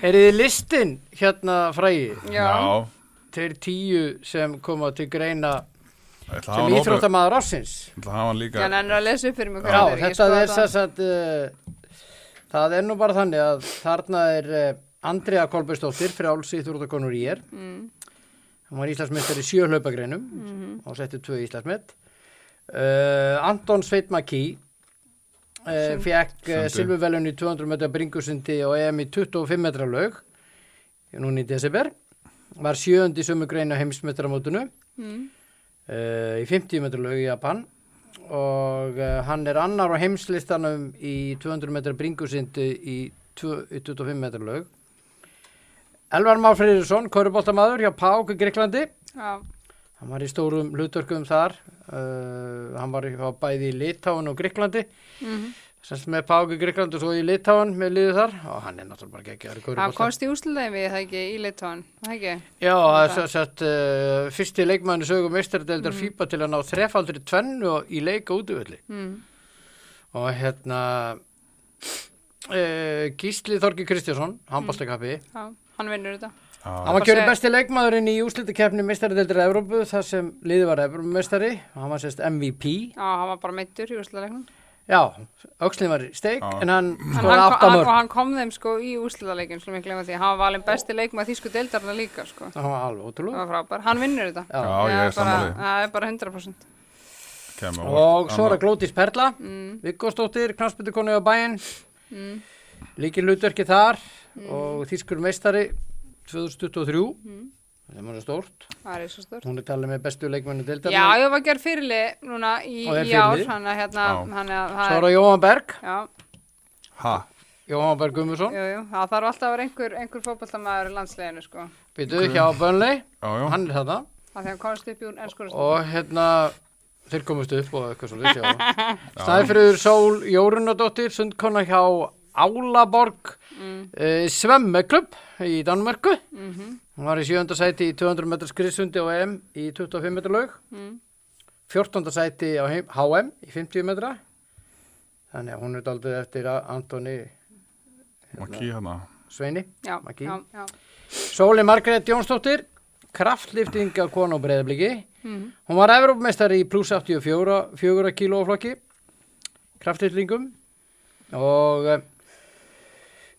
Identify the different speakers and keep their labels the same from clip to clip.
Speaker 1: Heyriði listin hérna frægi
Speaker 2: Já,
Speaker 1: Þeir tíu sem koma til greina
Speaker 2: ég
Speaker 1: sem
Speaker 2: ætla að hafa hann opið-
Speaker 1: íþróttamaður ásins
Speaker 2: ég ætla að hafa hann
Speaker 3: Já,
Speaker 2: líka
Speaker 3: hann er að lesa upp fyrir mig
Speaker 1: Já,
Speaker 3: hvernig
Speaker 1: þetta er sess að uh, það er nú bara þannig að þarna er uh, Andrea Kolbjörnsdóttir frjáls íþróttakonur í er
Speaker 3: Mm,
Speaker 1: Hún var Íslandsmyndir í sjö hlaupagreinum og setti tvö Íslandsmynd uh, Anton Sveitmaki uh,
Speaker 3: Sem-
Speaker 1: fekk uh,
Speaker 2: Sundi.
Speaker 1: silfurvelun í 200 metra bringusundi og EM í 25 metra laug núna í desember var sjöönd í sömu greinu heimsmetramótinu
Speaker 3: Mm.
Speaker 1: uh, í 50 metra laug í Japan og uh, hann er annar á heimslistanum í 200 metra bringusyndi í tvö- í 25 metra laug Elvar Már Freyriðsson, köruboltamaður hjá Pák í Greiklandi
Speaker 3: Já,
Speaker 1: hann var í stórum hlutverkum þar uh, hann var hjá bæði í Litáin og Greiklandi
Speaker 3: Mhm.
Speaker 1: semst með Pák í Greiklandi og svo í Litáin með liðu þar og hann er náttúrulega bara geggjaður í
Speaker 3: hann
Speaker 1: körubolta
Speaker 3: komst í úslulegin við það ekki í Litóan, það ekki?
Speaker 1: Já, það er
Speaker 3: Þetta.
Speaker 1: svo sett uh, fyrsti leikmæðinu sögum meistaradeildar mm. FIBA til að ná þrefaldri tvennu í leika útvöldi
Speaker 3: Mm.
Speaker 1: og hérna uh, Gísli Þorgi Kristjánsson handbóltakappi,
Speaker 3: Já, hann vinnur þetta.
Speaker 1: hann
Speaker 2: Já,
Speaker 1: var kjörið
Speaker 3: Bara
Speaker 1: besti leikmaðurinn í úslitakeppni meistaradeildar Evrópu þar sem liði var Evrópumeistari hann var sérst MVP
Speaker 3: Já, hann var bara meittur í úsluleginum.
Speaker 1: já, öxlin var í steik
Speaker 2: Já.
Speaker 1: en hann skoði
Speaker 3: En hann, hann, og
Speaker 1: aftamör
Speaker 3: hann kom þeim sko í úrslitaleikin slum ég glemma því, hann var valinn besti leikmaður þýsku deildarna líka sko,
Speaker 1: það var alveg
Speaker 3: það
Speaker 1: ótrúlega
Speaker 3: var frábær, hann vinnur þetta
Speaker 1: Já.
Speaker 2: Já,
Speaker 3: Það
Speaker 2: ég er
Speaker 3: bara,
Speaker 2: sammáli
Speaker 3: það er bara 100%
Speaker 2: Kæmi á
Speaker 1: og
Speaker 2: óvart.
Speaker 1: svo er að
Speaker 2: Annað-
Speaker 1: Glótis Perla
Speaker 3: mm,
Speaker 1: Viggóstóttir, knafsbyttukonu á bæinn
Speaker 3: mm,
Speaker 1: líkir hlutverki þar og þýskur meistari 2023
Speaker 3: mm.
Speaker 1: það er mjög stórt
Speaker 3: það er svo stór
Speaker 1: hún er talið með bestu leikmennu deildar
Speaker 3: já, ég var gerð fyrirlið núna í,
Speaker 1: Og er
Speaker 3: í ár
Speaker 1: fyrirliði.
Speaker 3: hann er hérna,
Speaker 2: Já.
Speaker 3: hann er
Speaker 1: svo er
Speaker 3: það er,
Speaker 1: að Jóhann Berg
Speaker 3: já,
Speaker 2: Ha,
Speaker 1: Jóhann Berg Gummusson
Speaker 3: jú, jú, það þarf alltaf að vera einhver, einhver fótballtamaður í landsleginu sko
Speaker 1: byrjuð hjá Bönley
Speaker 2: já, já
Speaker 1: hann er þarna
Speaker 3: af því hann komst upp í úr ennskur
Speaker 1: og hérna þeir komast upp og eitthvað svo lýsja Snæfriður Sól Jórunadóttir sundkona hjá Álaborg mm. Svemmeklubb í Danmörku
Speaker 3: mm
Speaker 1: hún var í 7. sæti í 200 metra skriðsundi og EM í 25 metra laug
Speaker 3: mm,
Speaker 1: 14. sæti á heim- HM í 50 metra þannig að hún er daldið eftir að Antoni
Speaker 2: Maki hérna
Speaker 1: Sveini
Speaker 3: já,
Speaker 1: Maggi.
Speaker 3: já, já
Speaker 1: Sóli Margrét Jónsdóttir kraftliftinga konu og breyðabliki
Speaker 3: mm,
Speaker 1: Hún var Evrópmeistari í pluss 84 fjögurra kílóflokki kraftlýtlingum og uh,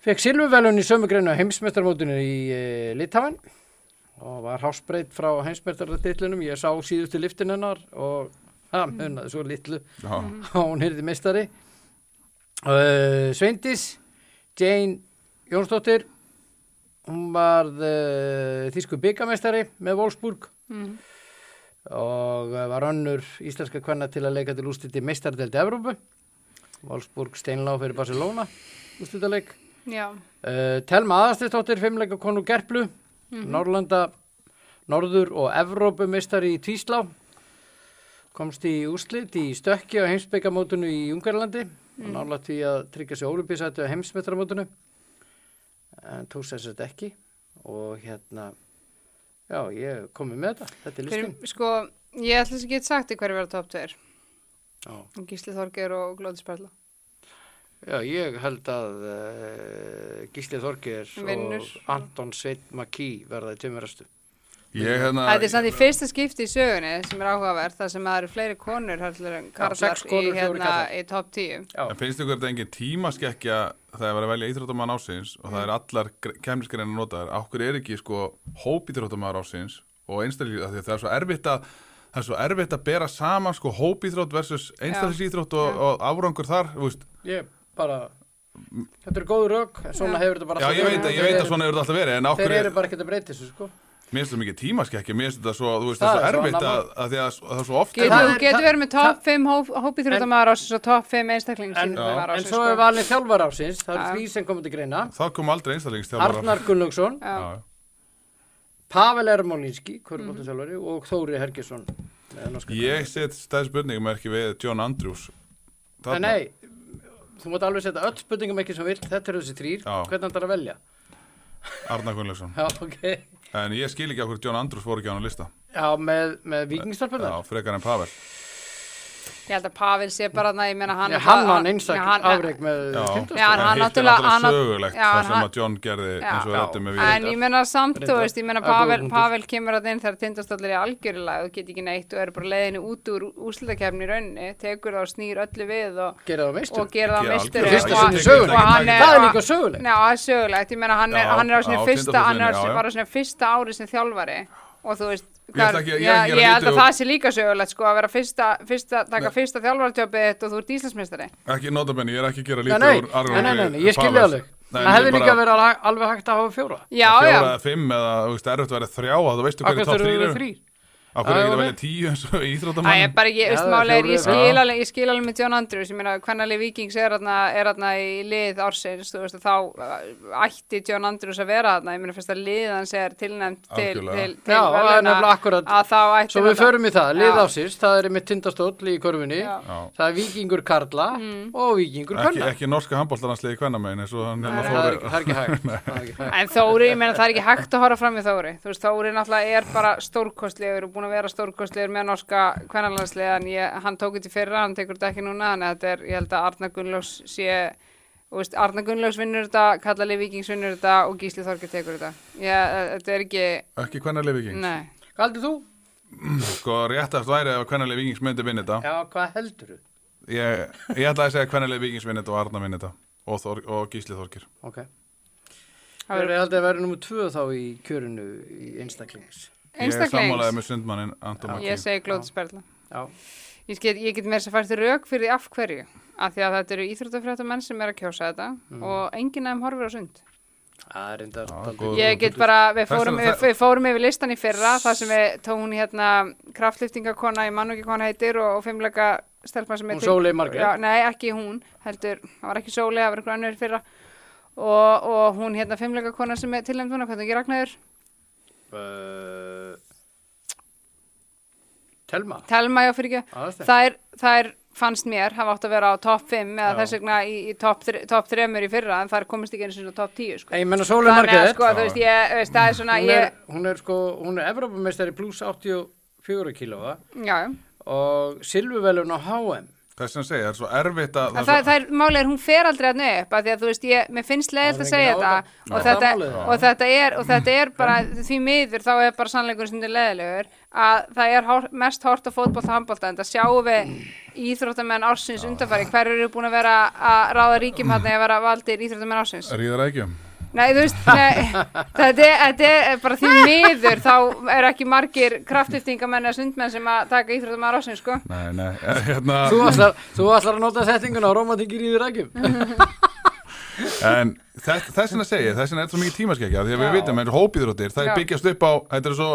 Speaker 1: fekk silfurvelun í sömugreinu heimsmeistarmótinu í uh, Litáin og var hásbreytt frá heimsmeistaratitlunum ég sá síðustu liftin hennar og það munaði svo litlu
Speaker 2: Já,
Speaker 1: og hún er þið meistari uh, Sveindis Jane Jónsdóttir hún var uh, þýsku byggameistari með Wolfsburg
Speaker 3: mm,
Speaker 1: og eh, var önnur íslenska kvenna til að leika til ústiti meistardelt Evrópu Wolfsburg Steinlau fyrir Barcelona ústitaleik
Speaker 3: já,
Speaker 1: uh, Telma aðastistóttir, fimmleika konu Gerplu Norrlanda Norður og Evrópu meistari í Tvíslá komst í úslit í stökki á heimsbyggamótinu í Ungarlandi og nála því að tryggja sér ólimpísættu á heimsmetramótinu en tókst þess að ekki og hérna já, ég komi með þetta þetta er listin
Speaker 3: fyrir, sko ég ætla þess að geta sagt í hverju verða top 2
Speaker 1: Já.
Speaker 3: Gísli Þorger og Glóðis Perla
Speaker 1: Já, ég held að uh, Gísli Þorger
Speaker 3: Vinnur.
Speaker 1: og Anton Sveit Makí verða í tömurastu.
Speaker 2: ég hérna
Speaker 3: Þetta er samt í fyrsta skipti í sögunni sem er áhugavert þar sem það eru fleiri konur heldur en karlar
Speaker 1: sex konur,
Speaker 3: í,
Speaker 1: fjórir
Speaker 3: hérna,
Speaker 1: karlar.
Speaker 3: í top 10
Speaker 2: En finnst ykkur þetta engin tímaskekkja þegar það er að velja íþróttamann ásins og
Speaker 1: Mhm.
Speaker 2: það er allar kemnisgreina notaðar okkur er ekki sko hópíþróttamann ásins og einstaklega því að það er svo erfitt að það er svo erfitt að bera saman sko hópíþrótt versus einstaklingsíþrótt og, og árangur þar þú veist.
Speaker 1: Ég bara, þetta er góð rök, en svona hefur þetta bara
Speaker 2: já ég veit, að, ég veit að svona hefur þetta alltaf verið en
Speaker 1: Þeir
Speaker 2: okkur er,
Speaker 1: eru bara ekkert að breyta þessu, sko.
Speaker 2: mér finnst þetta mikið tímaskekkja mér finnst þetta svo, þú veist,
Speaker 1: Það er
Speaker 2: það er svo
Speaker 1: svo
Speaker 2: erfitt
Speaker 1: annað
Speaker 2: að, að því að s- það er svo oft
Speaker 3: Getur
Speaker 1: það
Speaker 3: þú
Speaker 1: er-
Speaker 3: getur
Speaker 1: það-
Speaker 3: verið með top 5 hóp, hópið þrjóttamæður ásins og top 5
Speaker 1: En,
Speaker 3: einstaklingsþrjóttamæður
Speaker 1: en
Speaker 3: ásins
Speaker 1: svo er
Speaker 3: sko.
Speaker 1: valin þjálfar ásins, það
Speaker 3: Já.
Speaker 1: eru því sem komið til greina.
Speaker 2: það kom aldrei einstaklingsþjálfar
Speaker 1: Arnar Gunnlaugsson,
Speaker 3: Já.
Speaker 1: Pavel Ermolinski,
Speaker 3: Mhm.
Speaker 1: kvörbóttasjálfari og Þóri Hergesson. með norska
Speaker 2: ég set stæð spurningum ekki við John Andrews
Speaker 1: kvenna. En nei, þú mátt alveg setja öll spurningum ekki sem þú vilt, þetta eru þessi þrýr,
Speaker 2: Já.
Speaker 1: hvernig hann þarf að velja?
Speaker 2: Arnar Gunnlaugsson
Speaker 1: Já, ok.
Speaker 2: En ég skil ekki okkur John Andrews fór ekki á hann að lista
Speaker 1: Já, með, með vikingstarpunnar.
Speaker 2: Já, frekar en Pavel
Speaker 3: Ég held að Pavel sé bara þarna, ég meina hann...
Speaker 1: Ég, hann
Speaker 3: var-
Speaker 1: hann einstak
Speaker 3: Já, hann-
Speaker 1: afreg með
Speaker 2: Já.
Speaker 1: kindastofn.
Speaker 3: Já,
Speaker 2: En
Speaker 3: hann
Speaker 2: hitt er
Speaker 3: náttúrulega-
Speaker 2: náttúrulega
Speaker 3: hann-
Speaker 2: sögulegt
Speaker 3: já,
Speaker 2: það sem
Speaker 3: hann-
Speaker 2: að John gerði
Speaker 3: Já.
Speaker 2: eins og við
Speaker 1: Já.
Speaker 2: rættum með
Speaker 3: En
Speaker 2: við
Speaker 3: ég meina samt, þú
Speaker 1: Reyndar.
Speaker 3: veist, ég meina
Speaker 1: Að góður
Speaker 3: Pavel,
Speaker 1: punktur.
Speaker 3: Pavel kemur að inn þegar tindastóllir er algjörlega og get ekki neitt og eru bara leiðinu út úr úslutakefni í rauninni, tekur það og snýr öllu við og,
Speaker 1: Gerið það meistur.
Speaker 3: og gera það
Speaker 2: Gera
Speaker 3: mistur
Speaker 2: algjörlega.
Speaker 1: Fyrsta sinni í sögunni. Það er líka sögulegt.
Speaker 3: Já, það er sögulegt, ég meina hann er,
Speaker 2: Já,
Speaker 3: hann er á sinni
Speaker 2: á
Speaker 3: fyrsta, hann er á
Speaker 2: Tindastólssyni, já,
Speaker 3: sinni,
Speaker 2: já.
Speaker 3: bara á sinni fyrsta ári sem þjálfari og þú veist,
Speaker 2: Ég ætla
Speaker 3: hvar-
Speaker 2: ekki-
Speaker 3: já,
Speaker 2: ég er ekki að
Speaker 3: ég held
Speaker 2: lítið
Speaker 3: að
Speaker 2: og-
Speaker 3: það sé líka sögulegt sko að vera fyrsta, fyrsta taka
Speaker 2: Nei.
Speaker 3: fyrsta þjálfaratjópið þitt og þú ert Íslandsmeistari
Speaker 2: Ekki notabenni, ég er ekki að gera
Speaker 1: Já,
Speaker 2: lítið
Speaker 1: nei,
Speaker 2: úr
Speaker 1: nei,
Speaker 2: Arnóri
Speaker 1: nei, nei, nei, ég skilja alveg. Það hefði líka verið alveg- alveg hægt að hafa fjóra.
Speaker 3: Já,
Speaker 2: Fjóra
Speaker 3: já,
Speaker 2: eða fimm eða, þú veist, erfitt verið þrjá að þú veistu hverju
Speaker 1: Akkur
Speaker 2: þá
Speaker 1: þurfum
Speaker 2: þrýr
Speaker 1: við
Speaker 2: eru
Speaker 1: þrýr.
Speaker 2: Af
Speaker 1: Já,
Speaker 2: hverju ekki
Speaker 1: já,
Speaker 2: að velja tíu eins og
Speaker 3: Það
Speaker 2: íþróttamann
Speaker 3: er bara, ég,
Speaker 1: Já,
Speaker 3: veist
Speaker 1: það er
Speaker 3: málega er, ég
Speaker 1: fjórir.
Speaker 3: skil,
Speaker 2: Já.
Speaker 3: alveg, ég skil alveg með John Andrews, ég meina, hvernalið Vikings er þarna, er þarna í lið ársins, þú veist, og þá uh, ætti John Andrews að vera þarna, ég meina, fyrst að lið hans er tilnæmt til, til,
Speaker 2: Algjörlega.
Speaker 3: til,
Speaker 1: Já, það er
Speaker 3: verðlauna,
Speaker 1: nefnilega akkúrat.
Speaker 3: að þá ætti
Speaker 1: Svo við
Speaker 3: þetta-
Speaker 1: förum í það, lið
Speaker 3: Já.
Speaker 1: ásins, það er með tindastóll í körfunni,
Speaker 3: Já.
Speaker 2: Já.
Speaker 1: það er vikingur karla og vikingur
Speaker 2: Ekki,
Speaker 1: kvenna.
Speaker 2: ekki norska handbóltaransliði kvennamegin eins og hann
Speaker 1: Það
Speaker 2: hérna nema
Speaker 1: er- það er
Speaker 2: fóru
Speaker 1: ekki- það er ekki hægt. Það er ekki hægt.
Speaker 3: En Þóri, ég meina það er ekki hægt að horfa fram í Þóri Þú veist, Þóri náttúrulega er bara stórkostlegur og búin að vera stórkostlegur með norska kvennalandsliðan, ég, hann tók þetta í fyrra hann tekur þetta ekki núna, þannig að þetta er ég held að Arna Gunnlaugs sé þú veist, Arna Gunnlaugs vinnur þetta, Kallali Víkings vinnur þetta og Gísli Þorgir tekur þetta ég, eh, þetta er ekki,
Speaker 2: Ekki kvennalið vikings
Speaker 3: nei
Speaker 1: Hvað heldur þú?
Speaker 2: Sko réttast væri ef kvennalið vikings myndi vinna þetta
Speaker 1: Já, hvað heldur þú?
Speaker 2: ég, ég ætlaði að segja kvennalið vikings vinna þetta og Arna vinna þetta og, Þor, og Gísli Þorkir
Speaker 1: Ok.
Speaker 3: Það
Speaker 1: Það
Speaker 3: verður-
Speaker 1: er haldið að vera nummur tvö þá í kjörinu í einstaklings.
Speaker 2: Ég er sammálaðið
Speaker 3: einstaklings,
Speaker 2: með sundmannin Anton Maggi
Speaker 3: ég segi glóðsperla
Speaker 1: Já.
Speaker 3: Ég get, ég get með þess að fært rauk fyrir því af hverju af því að þetta eru íþróttafréttamenn sem er að kjósa þetta
Speaker 2: Mm.
Speaker 3: og enginn af þeim horfir á sund
Speaker 1: Það er reyndar
Speaker 2: Já,
Speaker 1: dálítið-
Speaker 2: góð-
Speaker 3: Ég get bara, við
Speaker 2: Þess
Speaker 3: fórum,
Speaker 2: vegna-
Speaker 3: við, við fórum yfir listan í fyrra, það sem við tóðum hérna kraftliftingakona, ég mann og ekki hvað hann heitir og, og fimmleika stelpa sem
Speaker 1: Hún
Speaker 3: heitir.
Speaker 1: Sóley Margrét.
Speaker 3: Já, nei, ekki hún, heldur, það var ekki Sóley, það var einhver annur í fyrra og, og hún hérna fimmleika kona sem er tilnæmt núna, hvað það ekki Ragnæður?
Speaker 1: Uh, Telma.
Speaker 3: Telma, já, fyrir ekki.
Speaker 1: Aðeins þeim.
Speaker 3: Þær, þær fannst mér, hafa átt að vera á topp 5 eða
Speaker 1: Já.
Speaker 3: þess vegna í, í topp 3 í fyrra, en þær komist ekki eins og topp 10, sko.
Speaker 1: Ég menna Sóley
Speaker 3: Þannig að,
Speaker 1: Margrét,
Speaker 3: sko, þú veist, ég, veist, það er svona,
Speaker 1: hún, er,
Speaker 3: ég,
Speaker 1: hún er sko, hún er Evrópameistari pluss 84 kílóa
Speaker 3: já, já.
Speaker 1: og silfuvelun á HM.
Speaker 2: Þess að segja, það er svo erfitt að
Speaker 3: En
Speaker 2: það
Speaker 3: það,
Speaker 2: er svo-
Speaker 3: það er málið er hún fer aldrei að upp af því að þú veist, ég, mér finnst leiðilt
Speaker 1: Það er
Speaker 3: að segja
Speaker 1: engin
Speaker 3: þetta
Speaker 1: ára-
Speaker 3: og
Speaker 1: Já.
Speaker 3: þetta,
Speaker 1: Það er málið.
Speaker 3: og, þetta er, og þetta er bara því miður þá er bara sannleikur sem er leiðilegur að það er hor, mest hort á fótboll og handbólta en það sjáum við íþróttamenn ársins undanfæri hver eru búin að vera að ráða ríkjum hann að vera valdir íþróttamenn ársins
Speaker 2: Ríðar ægjum
Speaker 3: Nei, þú veist, nei, þetta, er, þetta er bara því miður þá eru ekki margir kraftliftingamenn eða sundmenn sem að taka íþróttamenn ársins sko.
Speaker 2: Nei, nei, hérna
Speaker 1: Þú ætlar, þú ætlar að nota settinguna á romantikir í rækjum.
Speaker 2: En þess vegna segi, ég, þess vegna er þetta svo mikið tímaskekja Því að við vitum, þetta er hópiðróttir, það
Speaker 3: Já.
Speaker 2: er byggjast upp á Þetta er svo,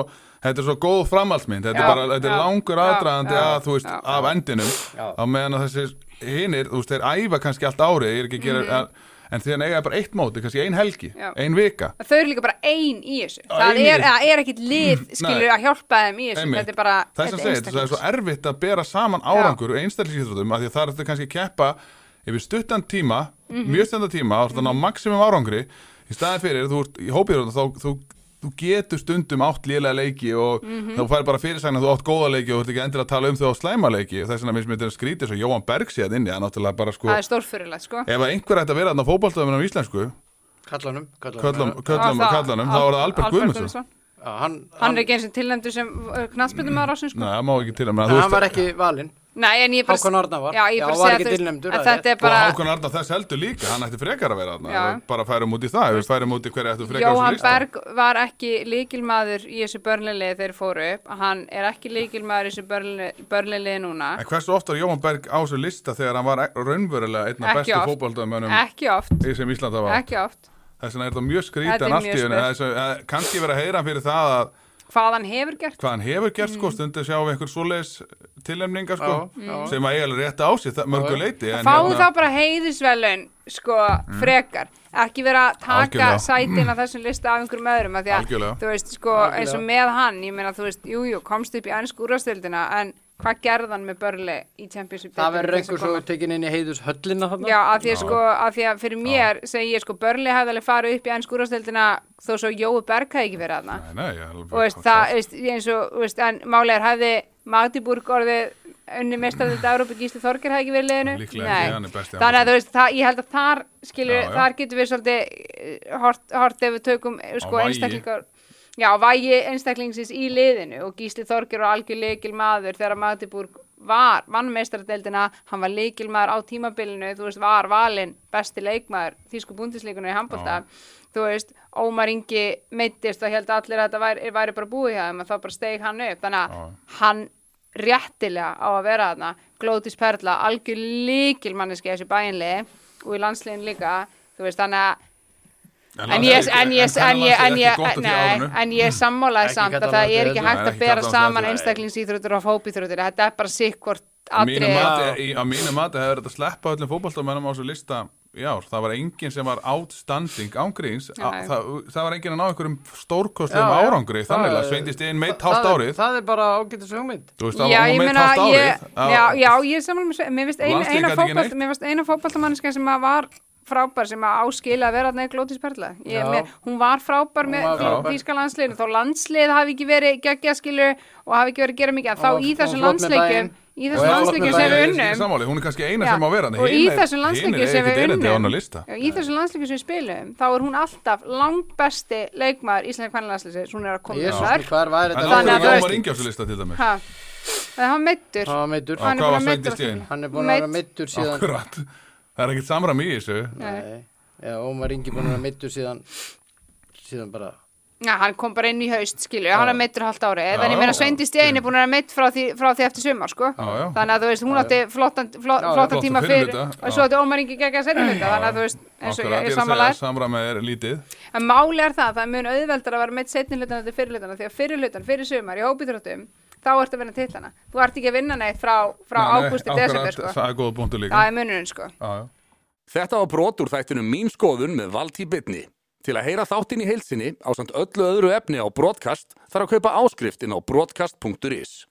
Speaker 2: þetta er svo góð framhaldsmynd Þetta
Speaker 3: Já,
Speaker 2: er bara, þetta
Speaker 3: já,
Speaker 2: er langur
Speaker 3: já,
Speaker 2: aðdraðandi
Speaker 3: já,
Speaker 2: að, þú veist,
Speaker 3: já.
Speaker 2: af endinum
Speaker 1: Já.
Speaker 2: Á meðan að þessi hinir, þú veist, þeir æfa kannski allt árið Ég er ekki að gera, en, en þegar eiga bara eitt móti, kannski ein helgi,
Speaker 3: Mhm. Já.
Speaker 2: ein vika
Speaker 3: þau eru líka bara ein í þessu
Speaker 2: Já,
Speaker 3: það
Speaker 2: ein í
Speaker 3: er,
Speaker 2: þessu. Mm,
Speaker 3: það er ekkit lið skilur
Speaker 2: Nei.
Speaker 3: að hjálpa þeim í þessu
Speaker 2: Einmitt.
Speaker 3: þetta er bara
Speaker 2: það er sem
Speaker 3: þetta
Speaker 2: segir, það er svo
Speaker 3: einstaklings-
Speaker 2: erfitt að bera saman árangur og einstaklingsíþrótum af því að það er þetta kannski að keppa yfir stuttan tíma,
Speaker 3: Mhm.
Speaker 2: mjög stuttan tíma og þannig á maximum árangri í staðin fyrir, þú ert í hópiðrótum þá þú, þú getur stundum átt lélega leiki og
Speaker 3: Mhm.
Speaker 2: þú fær bara fyrirsægn að þú átt góða leiki og þú ert ekki endur að tala um þau á slæma leiki og þess vegna finnst mér þetta skrítið svo Jóhann Berg séð inni, það er náttúrulega bara sko
Speaker 3: það er stórfyrirlegt sko
Speaker 2: ef að einhver ætti að vera þarna fótballtöðum á íslensku,
Speaker 1: Kallanum, kallanum.
Speaker 2: köllum, köllum,
Speaker 3: Og það-
Speaker 2: kallanum, þá
Speaker 3: Al-
Speaker 2: var það Albert Guðmundsson
Speaker 1: Já, hann,
Speaker 3: hann er ekki eins og tilnæmdu sem uh, knastbyrnum ára ásins
Speaker 2: Nei,
Speaker 3: sko
Speaker 2: það má ekki til að menna,
Speaker 1: en hann var ekki valinn.
Speaker 3: Nei, en ég bara
Speaker 1: Hákon Arnar var.
Speaker 3: já, ég
Speaker 1: Já,
Speaker 3: bara
Speaker 1: hann var
Speaker 3: segja,
Speaker 1: ekki
Speaker 3: þú veist,
Speaker 1: tilnefndur, það
Speaker 3: að
Speaker 1: er
Speaker 3: þetta er
Speaker 1: rétt.
Speaker 3: bara
Speaker 2: og Hákon Arnar þess heldur líka, hann ætti frekar að vera þarna
Speaker 3: Já.
Speaker 2: Ef við bara færum út í það, ef við færum út í hverja ættu frekar á þessum
Speaker 3: Jóhann
Speaker 2: lista.
Speaker 3: Berg var ekki líkilmaður í þessu börnlilið þegar þeir fóru upp hann er ekki líkilmaður í þessu börnlilið núna
Speaker 2: en hversu oft var Jóhann Berg á þessu lista þegar hann var ek- raunverulega einn af
Speaker 3: Ekki
Speaker 2: bestu
Speaker 3: oft.
Speaker 2: fótbaldamönnum
Speaker 3: ekki oft,
Speaker 2: sem Íslanda var,
Speaker 3: ekki oft
Speaker 2: þess vegna er þetta mjög
Speaker 3: Þetta
Speaker 2: skrítið
Speaker 3: er
Speaker 2: en allt í
Speaker 3: mjög
Speaker 2: henni,
Speaker 3: skrýt.
Speaker 2: þess að eh, kannski vera að heyra hann fyrir það að
Speaker 3: hvað hann hefur gert
Speaker 2: hvað hann hefur gert
Speaker 3: Mm.
Speaker 2: sko, stundu sjáum við einhver svoleiðis tilnefningar sko,
Speaker 1: Já, já.
Speaker 2: sem að eiga alveg rétt á sér það- mörgu leiti en
Speaker 3: Fáðu
Speaker 2: hérna- Mm.
Speaker 3: þá bara heiðisvelun sko frekar ekki vera að taka
Speaker 2: Algjörlega.
Speaker 3: sætin af þessum lista af einhverjum öðrum að því að
Speaker 2: Algjörlega.
Speaker 3: þú veist sko
Speaker 1: Algjörlega.
Speaker 3: eins og með hann ég meina þú veist jújú jú, komst upp í ennsk úrvastildina en hvað gerði hann með börli í
Speaker 1: Það
Speaker 3: Championship deildinni
Speaker 1: verður
Speaker 3: til þess að
Speaker 1: einhver svo
Speaker 3: koma?
Speaker 1: tekin inn í heiðus höllina þarna.
Speaker 3: Já, af því, að sko, af því að fyrir mér segi ég sko börli hefði alveg farið upp í ennsk úrvastildina þó svo Jói Berg hefði ekki verið aðna
Speaker 2: Nei, nei, ég er alveg-
Speaker 3: og veist, það, veist, eins og, veist, en málegar hefði Magdeburg orðið unni mestar þetta Európa Gísli Þorger hafi ekki verið í liðinu
Speaker 2: Líklega
Speaker 3: Nei.
Speaker 2: ekki, hann er besti
Speaker 3: þannig að þú veist, það, ég held að þar skilur,
Speaker 2: Já, já.
Speaker 3: þar getum við svolítið eh, hort, hort ef við tökum eh, sko,
Speaker 2: vægi.
Speaker 3: einstaklingar já, vægi einstaklingsins í liðinu og Gísli Þorger og algjör leikil maður þegar Magdeburg var vann meistaradeldina, hann var leikil maður á tímabilinu, þú veist, var valinn besti leikmaður þýsku búndisleikunum í handbólta þú veist, Ómar Ingi meittist og held allir að þetta væri, væri bara búið hjá þeim að þá bara steig hann upp þannig að
Speaker 2: Já.
Speaker 3: hann réttilega á að vera þarna Glótis Perla, algjör líkil manneski þessu bæinli og í landsliðin líka þú veist, þannig að en ég, en ég, en ég, en ég, nei, en ég sammálaði
Speaker 1: Ekki
Speaker 3: samt
Speaker 1: kalla
Speaker 3: að það
Speaker 1: landsliðið
Speaker 3: er ekki
Speaker 1: þetta.
Speaker 3: hægt
Speaker 2: Nei,
Speaker 3: að
Speaker 2: ekki
Speaker 3: bera
Speaker 2: kalla
Speaker 3: saman
Speaker 2: landsliðið.
Speaker 3: einstaklingsýþróttur og hópýþróttur, þetta er bara sikkvort
Speaker 2: Mínu
Speaker 3: atrið
Speaker 2: mati- í- Á mínu mati hefur þetta sleppa öllum fótballtamennum á þessu lista í ár. Það var enginn sem var outstanding ángríns.
Speaker 3: Nei.
Speaker 2: Á- Það, það var enginn að ná einhverjum stórkostlegum
Speaker 1: Já, já.
Speaker 2: árangri. Þannig að
Speaker 1: Það-
Speaker 2: sveindist einn meitt
Speaker 1: Það-
Speaker 2: hálft
Speaker 1: það er-
Speaker 2: árið.
Speaker 1: Það er bara ágætis hugmynd.
Speaker 2: Þú veist, það
Speaker 3: Já,
Speaker 2: var
Speaker 3: ég
Speaker 2: hún meitt
Speaker 3: meina,
Speaker 2: hálft
Speaker 3: ég,
Speaker 2: árið. Á-
Speaker 3: já, já, ég er samanlega með svo, mér finnst ein,
Speaker 2: Landsliðið
Speaker 3: eina
Speaker 2: gat ekki
Speaker 3: fótbolt,
Speaker 2: neitt.
Speaker 3: mér finnst eina fótboltamanniska sem að var frábær sem að áskila að vera þarna í Glótis Perla ég,
Speaker 1: Já.
Speaker 3: mér, hún var frábær
Speaker 1: Hún
Speaker 3: með
Speaker 1: var
Speaker 2: frábær.
Speaker 3: þýska landsliðinu, þá landslið hafi ekki verið geggjaskilu og hafi ekki verið að gera mikið en
Speaker 1: Hún var-
Speaker 3: þá í
Speaker 1: hún var
Speaker 3: þessum
Speaker 1: flott með daginn.
Speaker 3: landsleikjum
Speaker 1: Og
Speaker 3: í þessum
Speaker 1: er flott
Speaker 3: landsleikjum
Speaker 1: með
Speaker 3: sem við
Speaker 1: daginn.
Speaker 2: Ég er
Speaker 3: unnum
Speaker 2: sammála, Hún er kannski eina
Speaker 3: Já,
Speaker 2: sem má vera.
Speaker 3: og í þessum landsleikjum sem við
Speaker 2: unnum.
Speaker 3: unnum í þessum landsleikjum sem við spilum þá er hún alltaf langbesti leikmaður íslenska kvennalandsleikjum hún er að koma
Speaker 1: Jésus,
Speaker 3: með mörg
Speaker 1: hvað var
Speaker 2: En
Speaker 1: þetta?
Speaker 3: Þannig
Speaker 2: ákveður
Speaker 3: að þú
Speaker 2: Jómar
Speaker 3: veist-
Speaker 2: Ingi á þessu lista til dæmis.
Speaker 3: Ha. það var meittur
Speaker 1: Hann var meiddur.
Speaker 2: Á
Speaker 3: Hann er búinn
Speaker 2: hvað var
Speaker 3: að meiddur
Speaker 2: sveindist
Speaker 3: á
Speaker 2: einn?
Speaker 3: því.
Speaker 1: Hann er búin að vera
Speaker 3: Meidd.
Speaker 1: meittur síðan.
Speaker 2: Akkurat. Það er ekkert samram í þessu.
Speaker 1: Nei. Já, Ómar Ingi búin að vera meittur síðan, síðan bara.
Speaker 3: Já, hann kom bara inn í haust, skilju, hann er meittur halvt ári, en ég
Speaker 2: já,
Speaker 3: meina
Speaker 2: já.
Speaker 3: Sveindi Stein er búin að vera meitt frá því, frá því eftir sumar, sko.
Speaker 2: Já, já.
Speaker 3: Þannig að þú veist, hún átti flottan, flott,
Speaker 1: Já, já.
Speaker 3: flottan
Speaker 2: Flottan
Speaker 3: tíma
Speaker 2: fyrri
Speaker 3: fyrir
Speaker 2: hluta,
Speaker 3: og
Speaker 2: já.
Speaker 3: svo átti Ómar Ingi gegga að setja þetta, þannig að þú veist, eins og
Speaker 2: Akkurat,
Speaker 3: ég, ég
Speaker 2: ég er að segja
Speaker 3: samanlega.
Speaker 2: að samram er lítið.
Speaker 3: En máli er það, það er mun auðveldar að vera meitt setni hlutan eftir fyrir hlutana, því að fyrir hlutan, fyrir sumar, í hópiðröttum, þá ertu að vinna titlana. Þú ert ekki að vinna neitt frá, frá
Speaker 2: Nei, nei,
Speaker 3: ágústi,
Speaker 2: akkurat,
Speaker 3: desember, sko.
Speaker 2: Það er góða punktu líka.
Speaker 3: Það er munurinn, sko.
Speaker 2: Já, já.
Speaker 4: Þetta var brot úr þættunum Mín skoðun með Valtí Bitni. Til að heyra þáttin í heilsinni á samt öllu öðru efni á brotkast þarf að kaupa áskrift inn á brotkast.is.